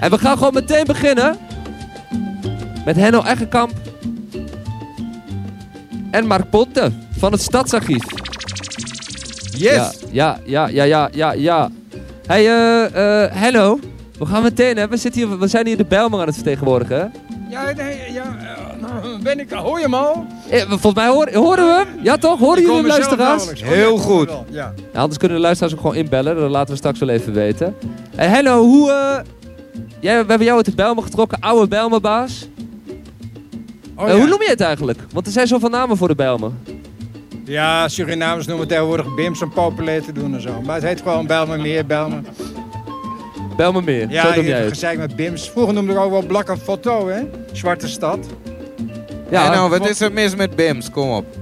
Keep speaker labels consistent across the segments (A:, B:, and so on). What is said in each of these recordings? A: En we gaan gewoon meteen beginnen met Henno Eggenkamp en Mark Ponte van het Stadsarchief. Ja,
B: Yes!
A: ja, ja, ja, ja, ja, ja. Hey, eh, eh, Henno, we gaan meteen, hè. We, zitten hier, we zijn hier de Bijlmer aan het vertegenwoordigen. hè?
B: Ja, nee, ja, eh, nou, ben ik, hoor je hem al?
A: Eh, volgens mij horen, horen we hem. Ja toch? Horen jullie
B: kom
A: hem,
B: mezelf
A: luisteraars?
B: nauwelijks.
C: Heel
B: Oh, ja,
C: goed.
B: kom wel, Ja.
A: Ja, anders kunnen de luisteraars ook gewoon inbellen. Dat laten we straks wel even weten. En Henno, hoe... eh, jij, we hebben jou uit de Bijlmer getrokken. Oude Bijlmerbaas.
B: Oh,
A: Eh,
B: ja.
A: Hoe noem je het eigenlijk? Want er zijn zoveel namen voor de Bijlmer.
B: ja, Surinamers noemen tegenwoordig Bims om populair te doen en zo. Maar het heet gewoon Bijlmermeer, Bijlmer.
A: Bijlmermeer,
B: Ja,
A: zo noem
B: je
A: jij
B: hebt
A: het.
B: gezeik met Bims. Vroeger noemden we ook wel Blakke Foto, hè? Zwarte stad.
A: Ja,
C: Ja, nou, wat
B: want-
C: is er mis met BIMS? Kom op.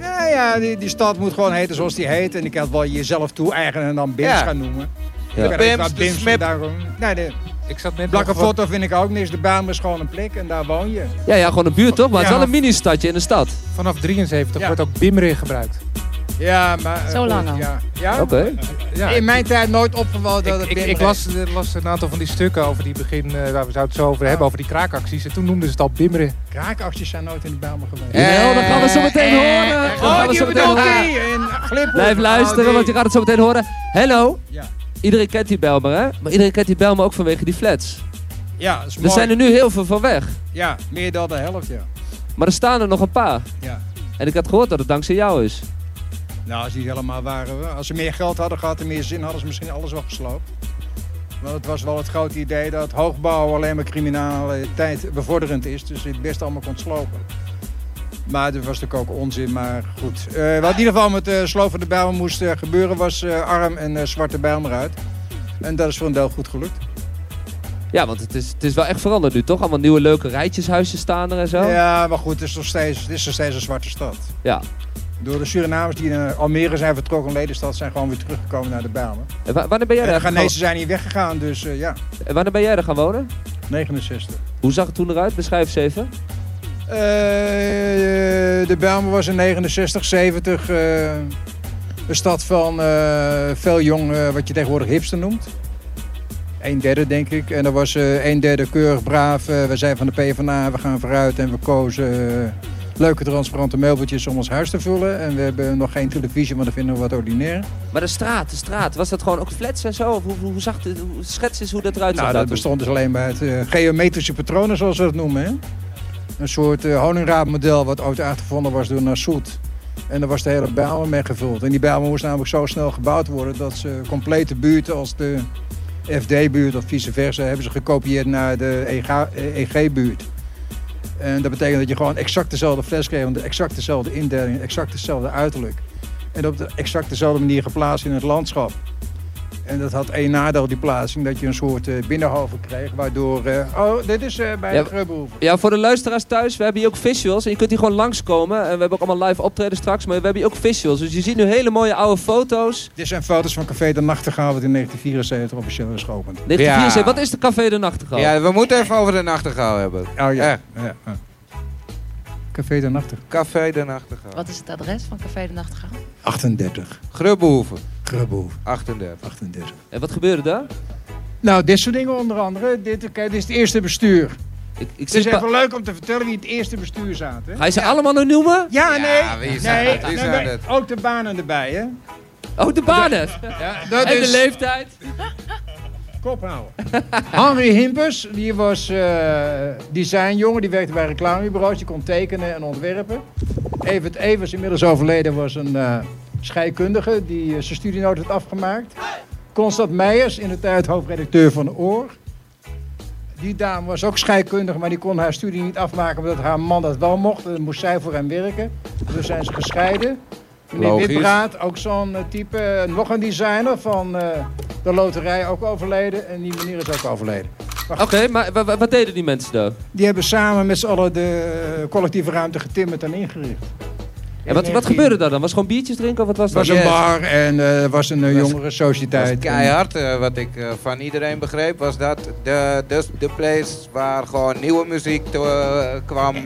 B: Ja, ja, die, die stad moet gewoon heten zoals die heet. En ik had wel jezelf toe-eigenen en dan Bims
C: Ja.
B: gaan noemen.
A: Ja.
B: Ik ben
C: Bims,
B: even aan
C: de Smip.
B: daarom. Nee, de
C: Ik zat net
B: Blakke Foto vind ik ook niks. De Bijlmer is gewoon een plek en daar woon je.
A: ja, ja, gewoon een buurt toch? Maar het is
B: Ja,
A: wel een mini-stadje in de stad.
D: Vanaf 73
B: Ja.
D: wordt ook Bimrin gebruikt.
C: Oh,
B: Ja, maar... eh,
E: Zo lang al.
B: Ja. ja?
A: Oké.
D: Ja,
B: In mijn tijd nooit opgevallen
D: ik,
B: dat het
D: ik,
B: Bims
D: ik las, eh, las een aantal van die stukken over die begin, eh, waar we zouden het zo over hebben, over die kraakacties. En toen noemden ze het al Bimrin.
B: Kraakacties zijn nooit in de Bijlmer geweest.
C: Eh,
A: Jawel, dan gaan we zo meteen
C: eh,
A: horen. Dan
B: Oh,
A: gaan we
B: die
A: zo meteen
B: bedoelt
A: horen.
B: die! En gliphoek.
A: Blijf luisteren,
B: Oh,
A: want je
B: die.
A: gaat het zo meteen horen. Hello.
B: Ja.
A: Iedereen kent die Bijlmer, hè? Maar iedereen kent die Bijlmer ook vanwege die flats.
B: Ja, dat is
A: Er
B: mooi.
A: zijn er nu heel veel van weg.
B: Ja, meer dan de helft, ja.
A: Maar er staan er nog een paar.
B: ja.
A: En ik had gehoord dat het dankzij jou is.
B: Nou, als die helemaal waren. we- Als ze meer geld hadden gehad en meer zin hadden ze misschien alles wel gesloopt. Want het was wel het grote idee dat hoogbouw alleen maar criminale tijd bevorderend is. Dus je het best allemaal kon slopen. Maar dat was natuurlijk ook onzin, maar goed. Eh, wat in ieder geval met de sloop van de Bijlmer moest eh, gebeuren was eh, arm en eh, zwarte Bijlmer uit. En dat is voor een deel goed gelukt.
A: Ja, want het is, het is wel echt veranderd nu, toch? Allemaal nieuwe leuke rijtjeshuizen staan er en zo.
B: Ja, maar goed, het is nog steeds, het is nog steeds een zwarte stad.
A: Ja.
B: Door de Surinamers die naar Almere zijn vertrokken, Ledenstad, zijn gewoon weer teruggekomen naar de Bijlmer.
A: En wa- wanneer ben jij
B: en
A: daar
B: de
A: gaan,
B: Ghanese zijn hier weggegaan, dus eh, ja,
A: en wanneer ben jij daar gaan wonen?
B: 69.
A: Hoe zag het toen eruit? Beschrijf eens even.
B: Eh, de Bijlmer was in 69, 70 eh, een stad van eh, veel jong, eh, wat je tegenwoordig hipster noemt. Een derde, denk ik. En dat was eh een derde keurig braaf. eh, we zijn van de PvdA, we gaan vooruit en we kozen eh, leuke transparante meubeltjes om ons huis te vullen. En we hebben nog geen televisie, maar dat vinden we wat ordinair.
A: Maar de straat, de straat, was dat gewoon ook flats en zo? Of hoe, hoe zag het, hoe, schets eens hoe dat eruit zag?
B: Nou, dat
A: daartoe?
B: bestond dus alleen maar uit eh, geometrische patronen, zoals we dat noemen. Hè? Een soort eh, honingraadmodel wat ooit uitgevonden was door Nassoet. En daar was de hele Bijlmer mee gevuld. En die Bijlmer moest namelijk zo snel gebouwd worden... dat ze complete buurten als de FD-buurt of vice versa... hebben ze gekopieerd naar de EG eh, EG-buurt. En dat betekent dat je gewoon exact dezelfde fles kreeg... want exact dezelfde indeling, exact dezelfde uiterlijk. En op de exact dezelfde manier geplaatst in het landschap. En dat had één nadeel, die plaatsing, dat je een soort eh, binnenhoven kreeg, waardoor... eh, oh, dit is eh, bij
A: Ja,
B: de Grubbehoeven.
A: Ja, voor de luisteraars thuis, we hebben hier ook visuals. En je kunt hier gewoon langskomen. En we hebben ook allemaal live optreden straks. Maar we hebben hier ook visuals. Dus je ziet nu hele mooie oude foto's.
B: Dit zijn foto's van Café de Nachtegaal, wat in 1974 officieel is geopend. Oh,
A: 1974,
C: Ja.
A: wat is de Café de Nachtegaal?
C: Ja, we moeten even over de nachtegaal hebben.
B: Oh ja.
C: Ja.
B: ja, ja. Café de Nachtegaal.
C: Café de nachtegaal.
E: Wat is het adres van Café de Nachtegaal?
B: 38.
C: Grubbehoeven,
B: Grubbehoeven,
C: 38.
B: 38.
A: En Eh, wat gebeurde daar?
B: Nou, dit soort dingen onder andere. Dit, kijk, dit is het eerste bestuur.
A: Ik, ik
B: Het is
A: zie pa-
B: even leuk om te vertellen wie het eerste bestuur zaten.
A: Ga je ze allemaal nog noemen?
B: Ja, nee.
C: Ja, wie zijn
B: nee,
C: het? Wie
B: nee,
C: zijn
B: maar
C: het?
B: Ook de banen erbij, hè?
A: Oh, de banen.
B: Ja, dat
A: En de leeftijd.
B: Kop houden. Henry Himpers, die was eh, designjongen, die werkte bij reclamebureaus, die kon tekenen en ontwerpen. Evert Evers, inmiddels overleden, was een eh, scheikundige die eh, zijn studienoot had afgemaakt. Constant Meijers, in de tijd hoofdredacteur van de Oor. Die dame was ook scheikundig, maar die kon haar studie niet afmaken omdat haar man dat wel mocht. En dan moest zij voor hem werken. Dus zijn ze gescheiden. Meneer
C: Logisch.
B: Witbraat, ook zo'n eh, type, eh, nog een designer van eh, de loterij, ook overleden. En die meneer is ook overleden.
A: Oké, maar wa- wa- wat deden die mensen daar?
B: Die hebben samen met z'n allen de eh, collectieve ruimte getimmerd en ingericht.
A: En wat, wat gebeurde daar dan? Was gewoon biertjes drinken of wat was dat?
B: Het was een
C: Yes.
B: bar en eh was een
C: Was-
B: jongere
C: Dat
B: sociëteit.
C: is keihard. eh, wat ik eh, van iedereen begreep was dat de, dus de place waar gewoon nieuwe muziek te, eh, kwam.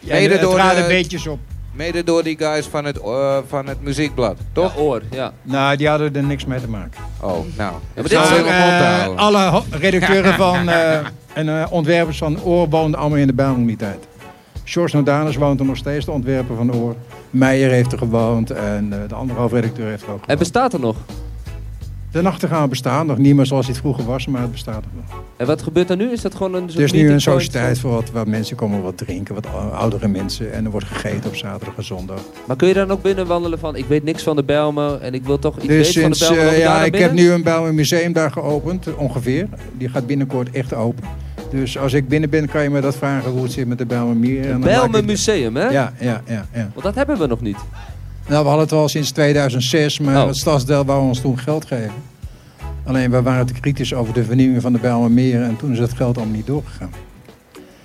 B: Ja, het
C: door
B: raadde
C: de-
B: beetjes op.
C: Mede door die guys van het, eh, van het muziekblad, toch?
A: Ja, oor, ja.
B: Nou, die hadden er niks mee te maken.
C: Oh, nou.
A: dit
C: Zal
A: is
C: ik
A: ook,
C: op
B: Maar,
C: mond
B: eh,
C: houden?
B: alle ho- redacteuren van, eh, en eh, ontwerpers van Oor woonden allemaal in de Bijlmer die tijd. George Nodanus woont er nog steeds, de ontwerper van Oor. Meijer heeft er gewoond en eh, de andere hoofdredacteur heeft er ook
A: En
B: gewoond.
A: bestaat er nog?
B: De nachtegaal bestaat nog niet meer zoals hij het vroeger was, maar het bestaat nog.
A: En wat gebeurt er nu? Is dat gewoon een soort
B: Er is nu een
A: meetingpoint
B: sociëteit voor wat, waar mensen komen wat drinken, wat ou- oudere mensen. En er wordt gegeten op zaterdag en zondag.
A: van- Maar kun je dan ook binnenwandelen van, ik weet niks van de Bijlmer en ik wil toch iets
B: dus
A: weten
B: sinds,
A: van de Bijlmer? loop ik
B: eh,
A: daar
B: ja,
A: naar
B: ik heb
A: binnen?
B: nu een Bijlmer Museum daar geopend, eh, ongeveer. Die gaat binnenkort echt open. Dus als ik binnen ben, kan je me dat vragen hoe het zit met de Bijlmer Mier. En dan maak
A: Bijlmer
B: ik-
A: Museum, hè?
B: Ja, ja, ja, ja.
A: Want dat hebben we nog niet.
B: Nou, we hadden het al sinds 2006, maar
A: Oh.
B: het stadsdeel wou ons toen geld geven. Alleen, we waren te kritisch over de vernieuwing van de Bijlmer Meer en toen is dat geld allemaal niet doorgegaan.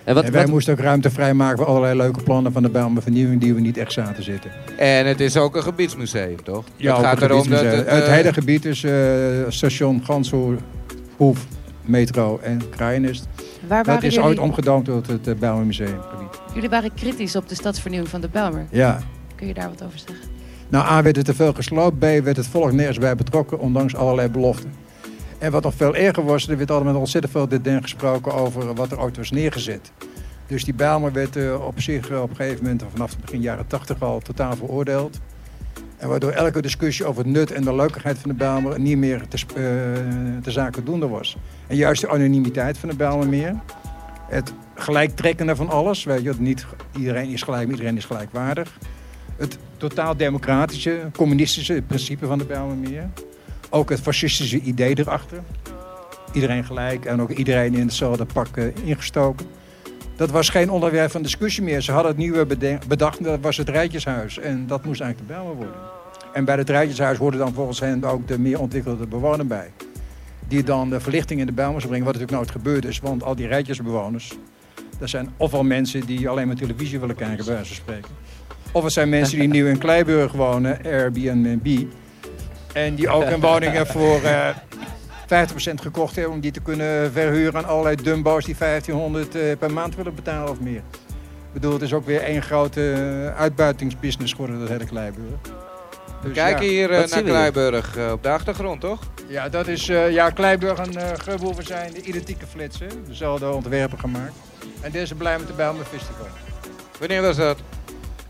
A: En wat,
B: en wij
A: wat-
B: moesten ook ruimte vrijmaken voor allerlei leuke plannen van de Bijlmer Vernieuwing die we niet echt zaten zitten.
C: En het is ook een gebiedsmuseum, toch? het
B: ook
C: gaat
B: een
C: erom dat
B: gebiedsmuseum.
C: het,
B: het
C: eh,
B: hele gebied is eh, station Ganshoef, metro en Kruinest.
E: Waar
B: Dat
E: waren
B: is ooit
E: jullie,
B: omgedoomd tot het eh, Bijlmer Museumgebied.
E: jullie waren kritisch op de stadsvernieuwing van de Belmer.
B: Ja.
E: Kun je daar wat over zeggen?
B: Nou, A werd er te veel gesloopt, B werd het volk nergens bij betrokken, ondanks allerlei beloften. En wat nog veel erger was, er werd allemaal ontzettend veel deden gesproken over wat er ooit was neergezet. Dus die Bijlmer werd eh, op zich eh, op een gegeven moment, vanaf het begin jaren tachtig al, totaal veroordeeld. En waardoor elke discussie over het nut en de leukigheid van de Bijlmer niet meer te, sp- eh, te zaken doende was. En juist de anonimiteit van de Bijlmer meer. Het gelijktrekkende van alles. Weet je, niet iedereen is gelijk, maar iedereen is gelijkwaardig het totaal democratische, communistische principe van de Bijlmermeer. Ook het fascistische idee erachter. Iedereen gelijk en ook iedereen in hetzelfde pak eh, ingestoken. Dat was geen onderwerp van discussie meer. Ze hadden het nieuwe beden- bedacht, dat was het Rijtjeshuis. En dat moest eigenlijk de Bijlmer worden. En bij het Rijtjeshuis hoorden dan volgens hen ook de meer ontwikkelde bewoner bij. Die dan de verlichting in de Bijlmer zou brengen, wat natuurlijk nooit gebeurd is. Want al die Rijtjesbewoners, dat zijn ofwel mensen die alleen maar televisie willen kijken, bij wijze van spreken. Of het zijn mensen die nieuw in Kleiburg wonen, Airbnb. En die ook hun woningen voor eh 50% gekocht hebben om die te kunnen verhuren aan allerlei dumbo's die 1500 eh, per maand willen betalen of meer. Ik bedoel, het is ook weer één grote eh, uitbuitingsbusiness geworden, dat hele Kleiburg. Dus
C: Kijk
B: ja.
C: hier eh,
A: Wat
C: naar
A: zien we hier?
C: Kleiburg eh, op de achtergrond, toch?
B: Ja, dat is, eh, ja, Kleiburg en eh Geubhoeven zijn de identieke flitsen. Dezelfde ontwerpen gemaakt. En deze blij met de Bijlmer Festival.
C: Wanneer was dat?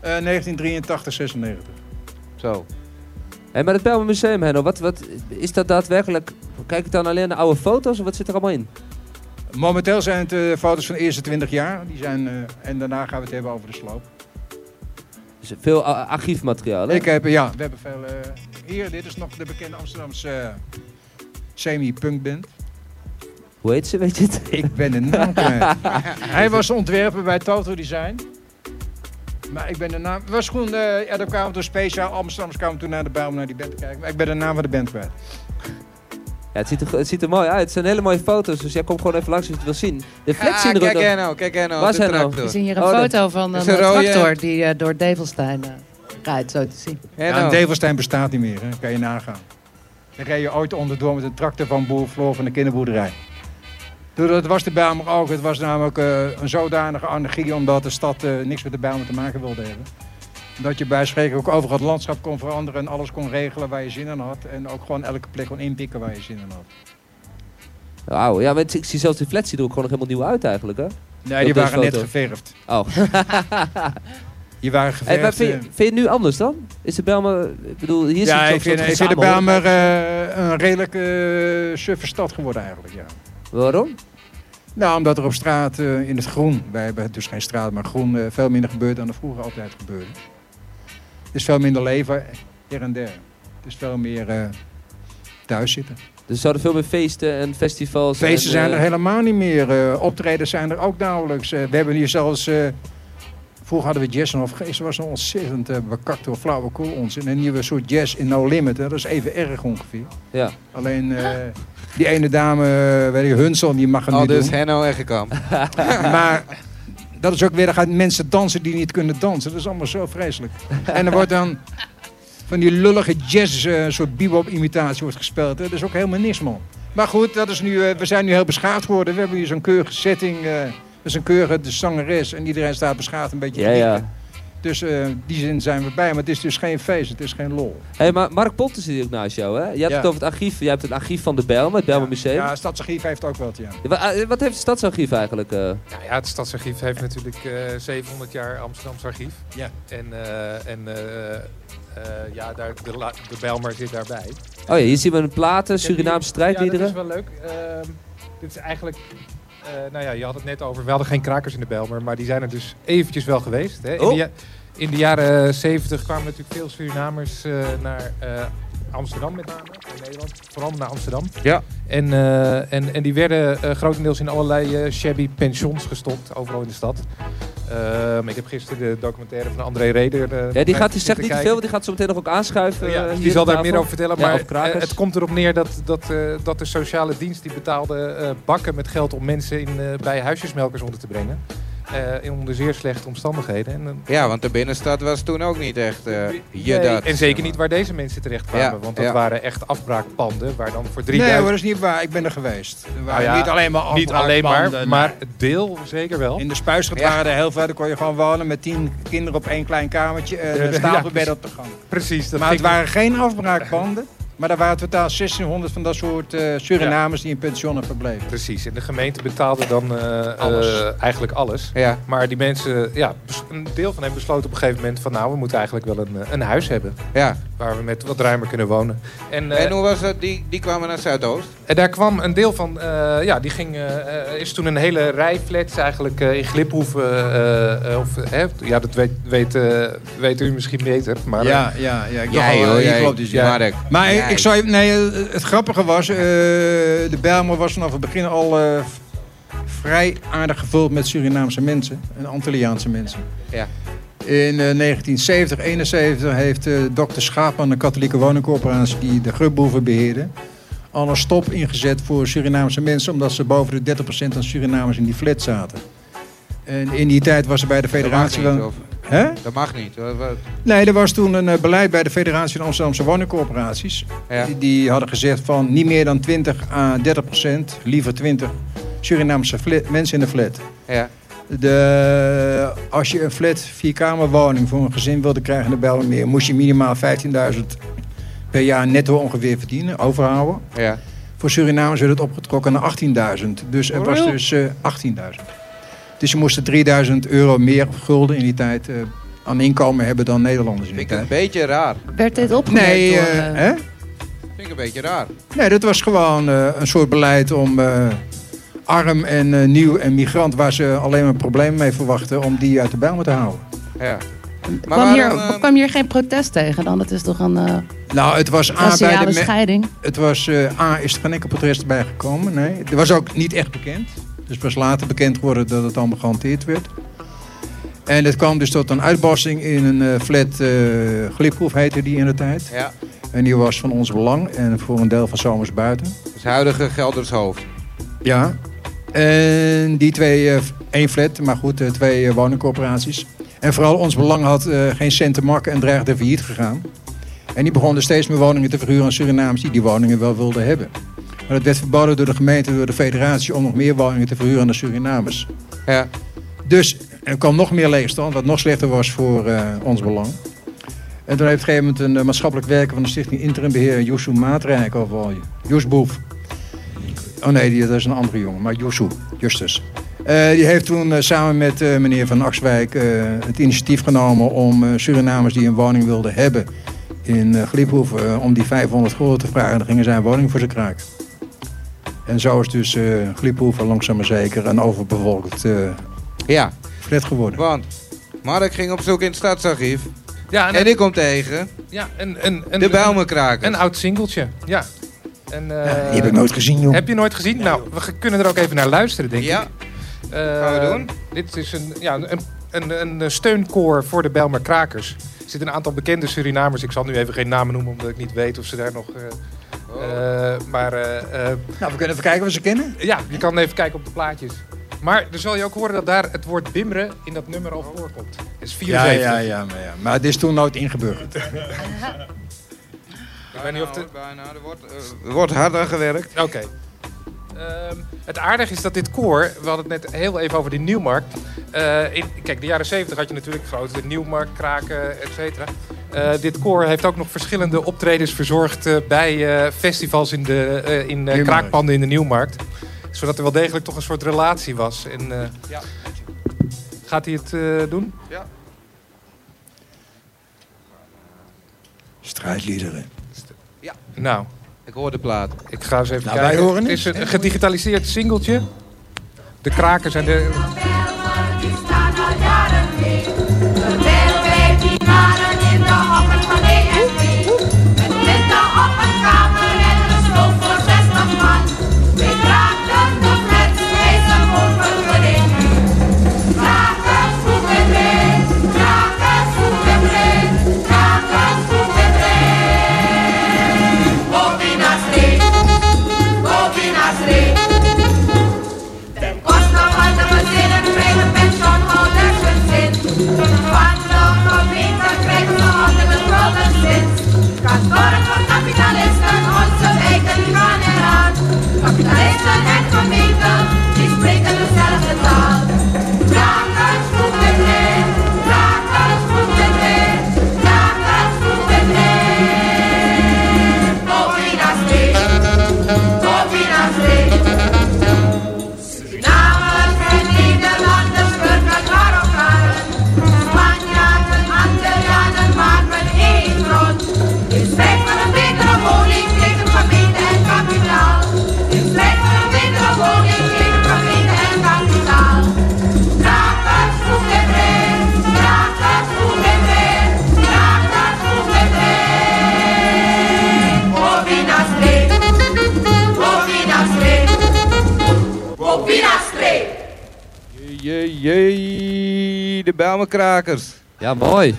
B: Eh 1983, 96.
C: Zo.
A: Hé, maar het Bijlmer Museum, Henno, wat, wat, is dat daadwerkelijk... Kijk ik dan alleen naar oude foto's of wat zit er allemaal in?
B: Momenteel zijn het eh, foto's van de eerste 20 jaar. Die zijn, eh, en daarna gaan we het hebben over de sloop.
A: Dus veel a- archiefmateriaal, hè?
B: Ik heb, eh, ja, we hebben veel... eh, hier, dit is nog de bekende Amsterdamse eh, semi-punkband.
A: Hoe heet ze, weet je het?
B: Ik ben de naam kwijt. Hij was de ontwerper bij Toto Design. Maar ik ben de naam... Het was gewoon... eh, ja, daar kwamen toen speciaal Amsterdams kwamen toen naar de Bijl om naar die band te kijken. Maar ik ben de naam van de band kwijt.
A: Ja, het ziet, er, het ziet er mooi uit. Het zijn hele mooie foto's, dus jij komt gewoon even langs als je het wil zien. De
C: Ah,
A: flex zien er ook
C: kijk
A: nog.
C: jij nou, kijk jij nou.
A: Waar
C: op de
A: zijn nou?
E: We
C: tractor.
E: zien hier een
A: Oh, dat-
E: foto van
C: is
E: een
C: een rode-
E: tractor die eh, door Develstein eh, rijdt, zo te zien.
C: En
B: Ja,
C: nou?
B: een Develstein bestaat niet meer, hè. kan je nagaan. Dan reed je ooit onderdoor met een tractor van boer Floor van de kinderboerderij. Toen, Dat was de Bijlmer ook. Het was namelijk eh, een zodanige anarchie omdat de stad eh, niks met de Bijlmer te maken wilde hebben. Dat je bij spreken ook overal het landschap kon veranderen en alles kon regelen waar je zin in had. En ook gewoon elke plek kon inpikken waar je zin in had.
A: Wauw, ja, maar het- ik zie zelfs die flex zien er ook gewoon nog helemaal nieuw uit eigenlijk, hè?
B: Nee, die
A: Dat is
B: waren net
A: foto.
B: geverfd.
A: Oh.
B: Die waren
A: Hey, maar
B: geverfd.
A: vind, je-
B: eh.
A: vind je het nu anders dan? Is de Bijlmer... Ik bedoel, hier
B: ja,
A: zit
B: ik vind, ik vind de Bijlmer eh, een redelijk eh suffe stad geworden eigenlijk, ja.
A: Waarom?
B: Nou, omdat er op straat eh, in het groen, wij hebben dus geen straat, maar groen, eh, veel minder gebeurt dan er vroeger altijd gebeurde. Er is veel minder leven hier en daar. Het is veel meer eh, thuis zitten.
A: Dus er zouden veel meer feesten en festivals...
B: Feesten
A: en,
B: zijn
A: eh,
B: er helemaal niet meer. eh, optredens zijn er ook nauwelijks. Eh, we hebben hier zelfs. eh, vroeger hadden we jazz en of geest. was een ontzettend eh, bekakt door flauwekul onzin. Een nieuwe soort jazz in No Limit. Hè. Dat is even erg ongeveer.
A: Ja.
B: Alleen eh, die ene dame, eh, weet ik, Hunsel, die mag het
C: Al
B: niet
C: dus
B: doen.
C: Henno Eggekamp.
B: Maar dat is ook weer, dan gaan mensen dansen die niet kunnen dansen. Dat is allemaal zo vreselijk. En er wordt dan van die lullige jazz, eh, soort bebop-imitatie wordt gespeeld. hè. Dat is ook helemaal niks, man. Maar goed, dat is nu, eh, we zijn nu heel beschaafd geworden. We hebben hier zo'n keurige setting. eh met zo'n keurige de zangeres. En iedereen staat beschaafd een beetje te
A: Ja, ja.
B: knikken. Dus eh, in die zin zijn we bij. Maar het is dus geen feest, het is geen lol.
A: hey, maar Mark Ponte zit hier ook naast jou, hè? Je hebt
B: Ja.
A: het over het archief. Jij hebt het archief van de Bijlmer, het Bijlmer Museum.
B: Ja, Stadsarchief heeft ook wat, ja.
A: Wa- eh, Wat heeft het Stadsarchief eigenlijk? eh?
D: Nou ja, het Stadsarchief heeft natuurlijk eh, 700 jaar Amsterdams archief.
B: Ja.
D: En, eh, en eh, eh, ja, daar, de, la- de Bijlmer zit daarbij.
A: Oh ja, hier zien we een platen, Surinaamse
D: Ja,
A: strijdliederen.
D: dat is wel leuk. Ehm, dit is eigenlijk... eh, nou ja, je had het net over, we hadden geen krakers in de Bijlmer, maar die zijn er dus eventjes wel geweest. Hè? In,
A: Oh.
D: de, ja- in de jaren 70 kwamen natuurlijk veel Surinamers eh, naar eh, Amsterdam met name, in Nederland, vooral naar Amsterdam.
C: Ja.
D: En, eh, en, en die werden eh, grotendeels in allerlei eh, shabby pensions gestopt, overal in de stad. Ehm, ik heb gisteren de documentaire van André Reder. eh,
A: Ja, die, gaat, die
D: zitten
A: zegt niet te
D: kijken.
A: veel, want die gaat zo meteen nog ook aanschuiven.
D: Ja,
A: eh,
D: dus die
A: hier
D: zal
A: op
D: daar
A: tafel.
D: meer over vertellen.
A: Ja,
D: Maar
A: of krakers.
D: eh, het komt erop neer dat, dat, eh, dat de sociale dienst die betaalde eh, bakken met geld om mensen in, eh, bij huisjesmelkers onder te brengen. Eh, in onder zeer slechte omstandigheden. En, eh,
C: Ja, want de binnenstad was toen ook niet echt eh, je
D: nee,
C: dat.
D: en zeker niet waar deze mensen terecht kwamen.
C: Ja,
D: want dat
C: ja.
D: waren echt afbraakpanden waar dan voor
B: Nee
D: 3000...
B: hoor, dat is niet waar. Ik ben er geweest. Er waren
D: Ah ja,
B: niet alleen maar
D: niet alleen maar,
B: afbraakbanden.
D: maar het deel zeker wel.
B: In de spuisgat
C: Ja.
B: waren er heel veel. Daar kon je gewoon wonen met tien kinderen op één klein kamertje. En een
D: Ja,
B: stapelbed
D: precies.
B: op de gang.
D: Precies. Dat
B: Maar het
D: ging-
B: waren geen afbraakbanden. Maar er waren totaal 1600 van dat soort eh, Surinamers die in pensioenen verbleven.
D: Precies. En de gemeente betaalde dan eh,
B: Alles.
D: eh, eigenlijk alles.
C: Ja.
D: Maar die mensen, ja, bes- een deel van hen besloot op een gegeven moment van... nou, we moeten eigenlijk wel een, eh, een huis hebben.
C: ja.
D: waar we met wat ruimer kunnen wonen. En, eh,
C: En hoe was dat? Die, die kwamen naar Zuidoost.
D: en daar kwam een deel van, eh, ja, die ging, eh, eh, is toen een hele rij flats eigenlijk eh, in Gliphoeven, eh, eh, of, hè, ja, dat weet, weet, eh, weet u misschien beter, maar eh,
B: Ja, ja, ja. Ik
C: Jij,
B: dacht al,
C: hoor,
B: eh, hier
C: jij.
B: klopt dus, ja.
C: Mark.
B: Maar ik-
C: Jij.
B: ik zou je- nee, eh, het grappige was, eh, de Bijlmer was vanaf het begin al eh, v- vrij aardig gevuld met Surinaamse mensen en Antilliaanse mensen.
C: Ja.
B: In eh, 1970, 71 heeft eh dokter Schaapman, een katholieke woningcorporatie die de grubboeven beheerde, al een stop ingezet voor Surinaamse mensen, omdat ze boven de 30% van Surinamers in die flat zaten. En in die tijd was er bij de
C: Dat mag
B: federatie
C: niet.
B: wel...
C: of-
B: Hè?
C: Dat mag niet. Wat- wat-
B: Nee, er was toen een eh, beleid bij de Federatie van Amsterdamse Woningcorporaties.
C: Ja.
B: Die, die hadden gezegd van niet meer dan 20 à 30 procent, liever 20 Surinaamse flat- mensen in de flat.
C: Ja.
B: De, als je een flat, vierkamerwoning voor een gezin wilde krijgen in de Bijlmermeer, moest je minimaal 15.000 per jaar netto ongeveer verdienen, overhouden.
C: Ja.
B: Voor Surinamers werd het opgetrokken naar 18.000. Dus er
C: Oh,
B: was
C: joh.
B: dus eh, 18.000. Dus je moest 3000 euro meer of gulden in die tijd eh, aan inkomen hebben dan Nederlanders in die
C: Vind ik een
B: tijd.
C: beetje raar.
E: Werd dit opgemerkt
B: Nee,
E: door...
B: eh,
E: eh,
B: hè?
C: Vind ik een beetje raar.
B: nee, dat was gewoon eh, een soort beleid om eh, arm en eh, nieuw en migrant, waar ze alleen maar problemen mee verwachten, om die uit de bijl te houden.
C: Ja.
E: kwam,
C: waarom,
E: hier,
C: eh,
E: kwam hier geen protest tegen dan? Dat is toch een eh,
B: Nou, het was A bij de
E: raciale
B: me-
E: scheiding?
B: Het was eh, A, is er geen enkel protest bij gekomen. Nee. Het was ook niet echt bekend. Dus pas later bekend geworden dat het allemaal gehanteerd werd. En het kwam dus tot een uitbarsting in een eh, flat eh Gliphoef heette die in de tijd.
C: Ja.
B: En die was van ons belang en voor een deel van Zomers buiten.
C: Dat is huidige Geldershoofd.
B: Ja. En die twee, eh, één flat, maar goed, eh, twee eh, woningcorporaties. En vooral ons belang had eh, geen cent te makken en dreigde failliet gegaan. En die begonnen steeds meer woningen te verhuren aan Surinamers die die woningen wel wilden hebben. Maar dat werd verboden door de gemeente, door de federatie, om nog meer woningen te verhuren aan de Surinamers.
C: Ja.
B: Dus er kwam nog meer leegstand, wat nog slechter was voor eh, ons belang. En toen heeft op een gegeven moment een eh, maatschappelijk werker van de Stichting Interim Beheer, Joesoe Maatrijk, of wel, Joes Boef. Oh nee, die, dat is een andere jongen, maar Joesoe, Justus. Eh, die heeft toen eh, samen met eh, meneer Van Akswijk eh, het initiatief genomen om eh, Surinamers die een woning wilden hebben in eh Gliephoef, eh, om die 500 gulden te vragen. En dan gingen zij een woning voor ze kraken. En zo is dus eh Gliephoef al langzaam maar zeker een overbevolkt eh
C: Ja.
B: flat geworden.
C: Want Mark ging op zoek in het stadsarchief.
D: ja, en,
C: En ik kom tegen
D: ja, een, een, een,
C: de
D: een, een
C: Bijlmerkraker.
D: oud singeltje, ja. En, eh,
B: Die heb ik nooit gezien, joh.
D: heb je nooit gezien? nou, we g- kunnen er ook even naar luisteren, denk
C: Ja.
D: ik. Eh,
C: gaan we doen.
D: Dit is een, ja, een, een, een steunkoor voor de Bijlmer Krakers. Er zitten een aantal bekende Surinamers. Ik zal nu even geen namen noemen, omdat ik niet weet of ze daar nog... eh, eh, maar eh, eh,
B: Nou, we kunnen even kijken wat ze kennen.
D: Ja, je kan even kijken op de plaatjes. Maar dan zal je ook horen dat daar het woord bimre in dat nummer al voorkomt. Dat is 74.
B: ja, maar, ja. maar het is toen nooit ingeburgerd.
D: Ik weet niet of het...
C: Nou, Bijna, hoor, bijna. Er wordt, eh, er wordt hard aan gewerkt.
D: Oké. Ehm, het aardige is dat dit koor, we hadden het net heel even over die Nieuwmarkt. Eh, in, kijk, de jaren 70 had je natuurlijk grote Nieuwmarkt, kraken, et cetera. Eh, dit koor heeft ook nog verschillende optredens verzorgd eh, bij eh, festivals in, de, eh, in eh,
B: Nieuwmarkt.
D: kraakpanden in de Nieuwmarkt. Zodat er wel degelijk toch een soort relatie was. En, eh,
C: Ja.
D: Gaat hij het eh, doen?
B: Strijdliederen.
D: Nou,
C: Ik hoor de plaat.
D: ik ga eens even
B: Nou,
D: kijken.
B: wij horen
D: het is een gedigitaliseerd singeltje. De krakers en de...
F: Die staan al jaren mee. Terwijl wij die waren in de hokken van DSB. Een witte op een kamer en een schoof voor 60 man. Wij draken de flits, wij zijn over de ring. Krakers, hoe we brengen. Krakers, hoe we brengen. Krakers, hoe we brengen. Bobby Nasri. Bobby Nasri. Den kosten van de gezinnen krijgen pensioenhouders hun zin. Van de gemeente krijgen ze onder de gulden zins. Kantoren van kapitalisten, onze wijken gaan eraan. Kapitalisten en gemeenten, die spreken dezelfde taal. Krakers roepen in, krakers roepen in, krakers roepen in. Bovina Street, Bovina Street. Surinamers en Nederlanders burgen naar elkaar. Spanjaarden, Antillianen maken één front. In strijd voor een betere woning tegen gemeente en kapitaal. In strijd voor een betere woning tegen gemeente en kapitaal. Krakers roepen mee, krakers roepen mee, krakers roepen mee. Bovina Street, Bovina Street. Bovina Street.
C: Jee, jee, de Bijlmerkrakers.
A: Ja, mooi. Ja,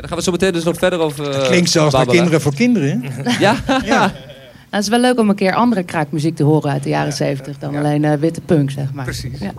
A: daar gaan we zo meteen dus nog verder over eh,
B: Klinkt zelfs naar
A: babbelen.
B: kinderen voor kinderen. hè?
A: Ja,
E: Nou, het is wel leuk om een keer andere kraakmuziek te horen uit de jaren zeventig dan alleen eh, witte punk, zeg maar.
D: Precies.
E: Ja.